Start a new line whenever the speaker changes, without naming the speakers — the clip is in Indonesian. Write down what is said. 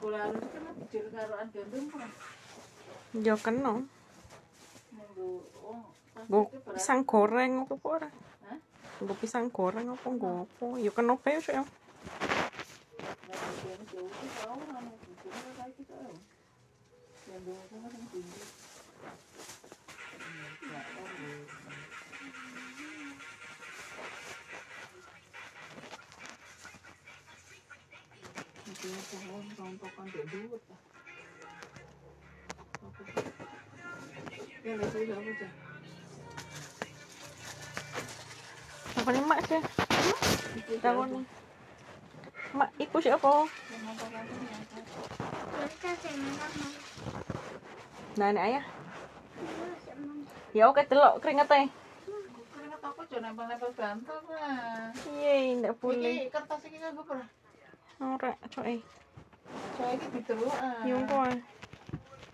bola alus kan dicil karoan gendong kan
Ya kena.
nggo wong plastik
Nggo
itu berat.
pisang goreng apa apa ora?
Hah?
Nggo pisang goreng apa nggo apa? Ya kena bae sih.
Nah, bagian jauh itu tau, anu, bagian itu kayak gitu, ayo. Gendong itu kan yang tinggi. Mungkin semua rontokan dia duit lah. Apa? Ya, nggak sih, nggak apa, Cah.
Apa nih mak sih?
Itu
Tahu
jauh.
nih. Mak iku sih apa?
Yang rontokan itu yang satu.
Nah, nek ayah. Ya oke delok keringetnya.
Keringet aku jangan nempel-nempel bantal lah.
Yeay, ndak boleh.
Iki kertas iki kan gue pernah.
Ora, coy.
Soalnya iki ditelukan.
Yung koe.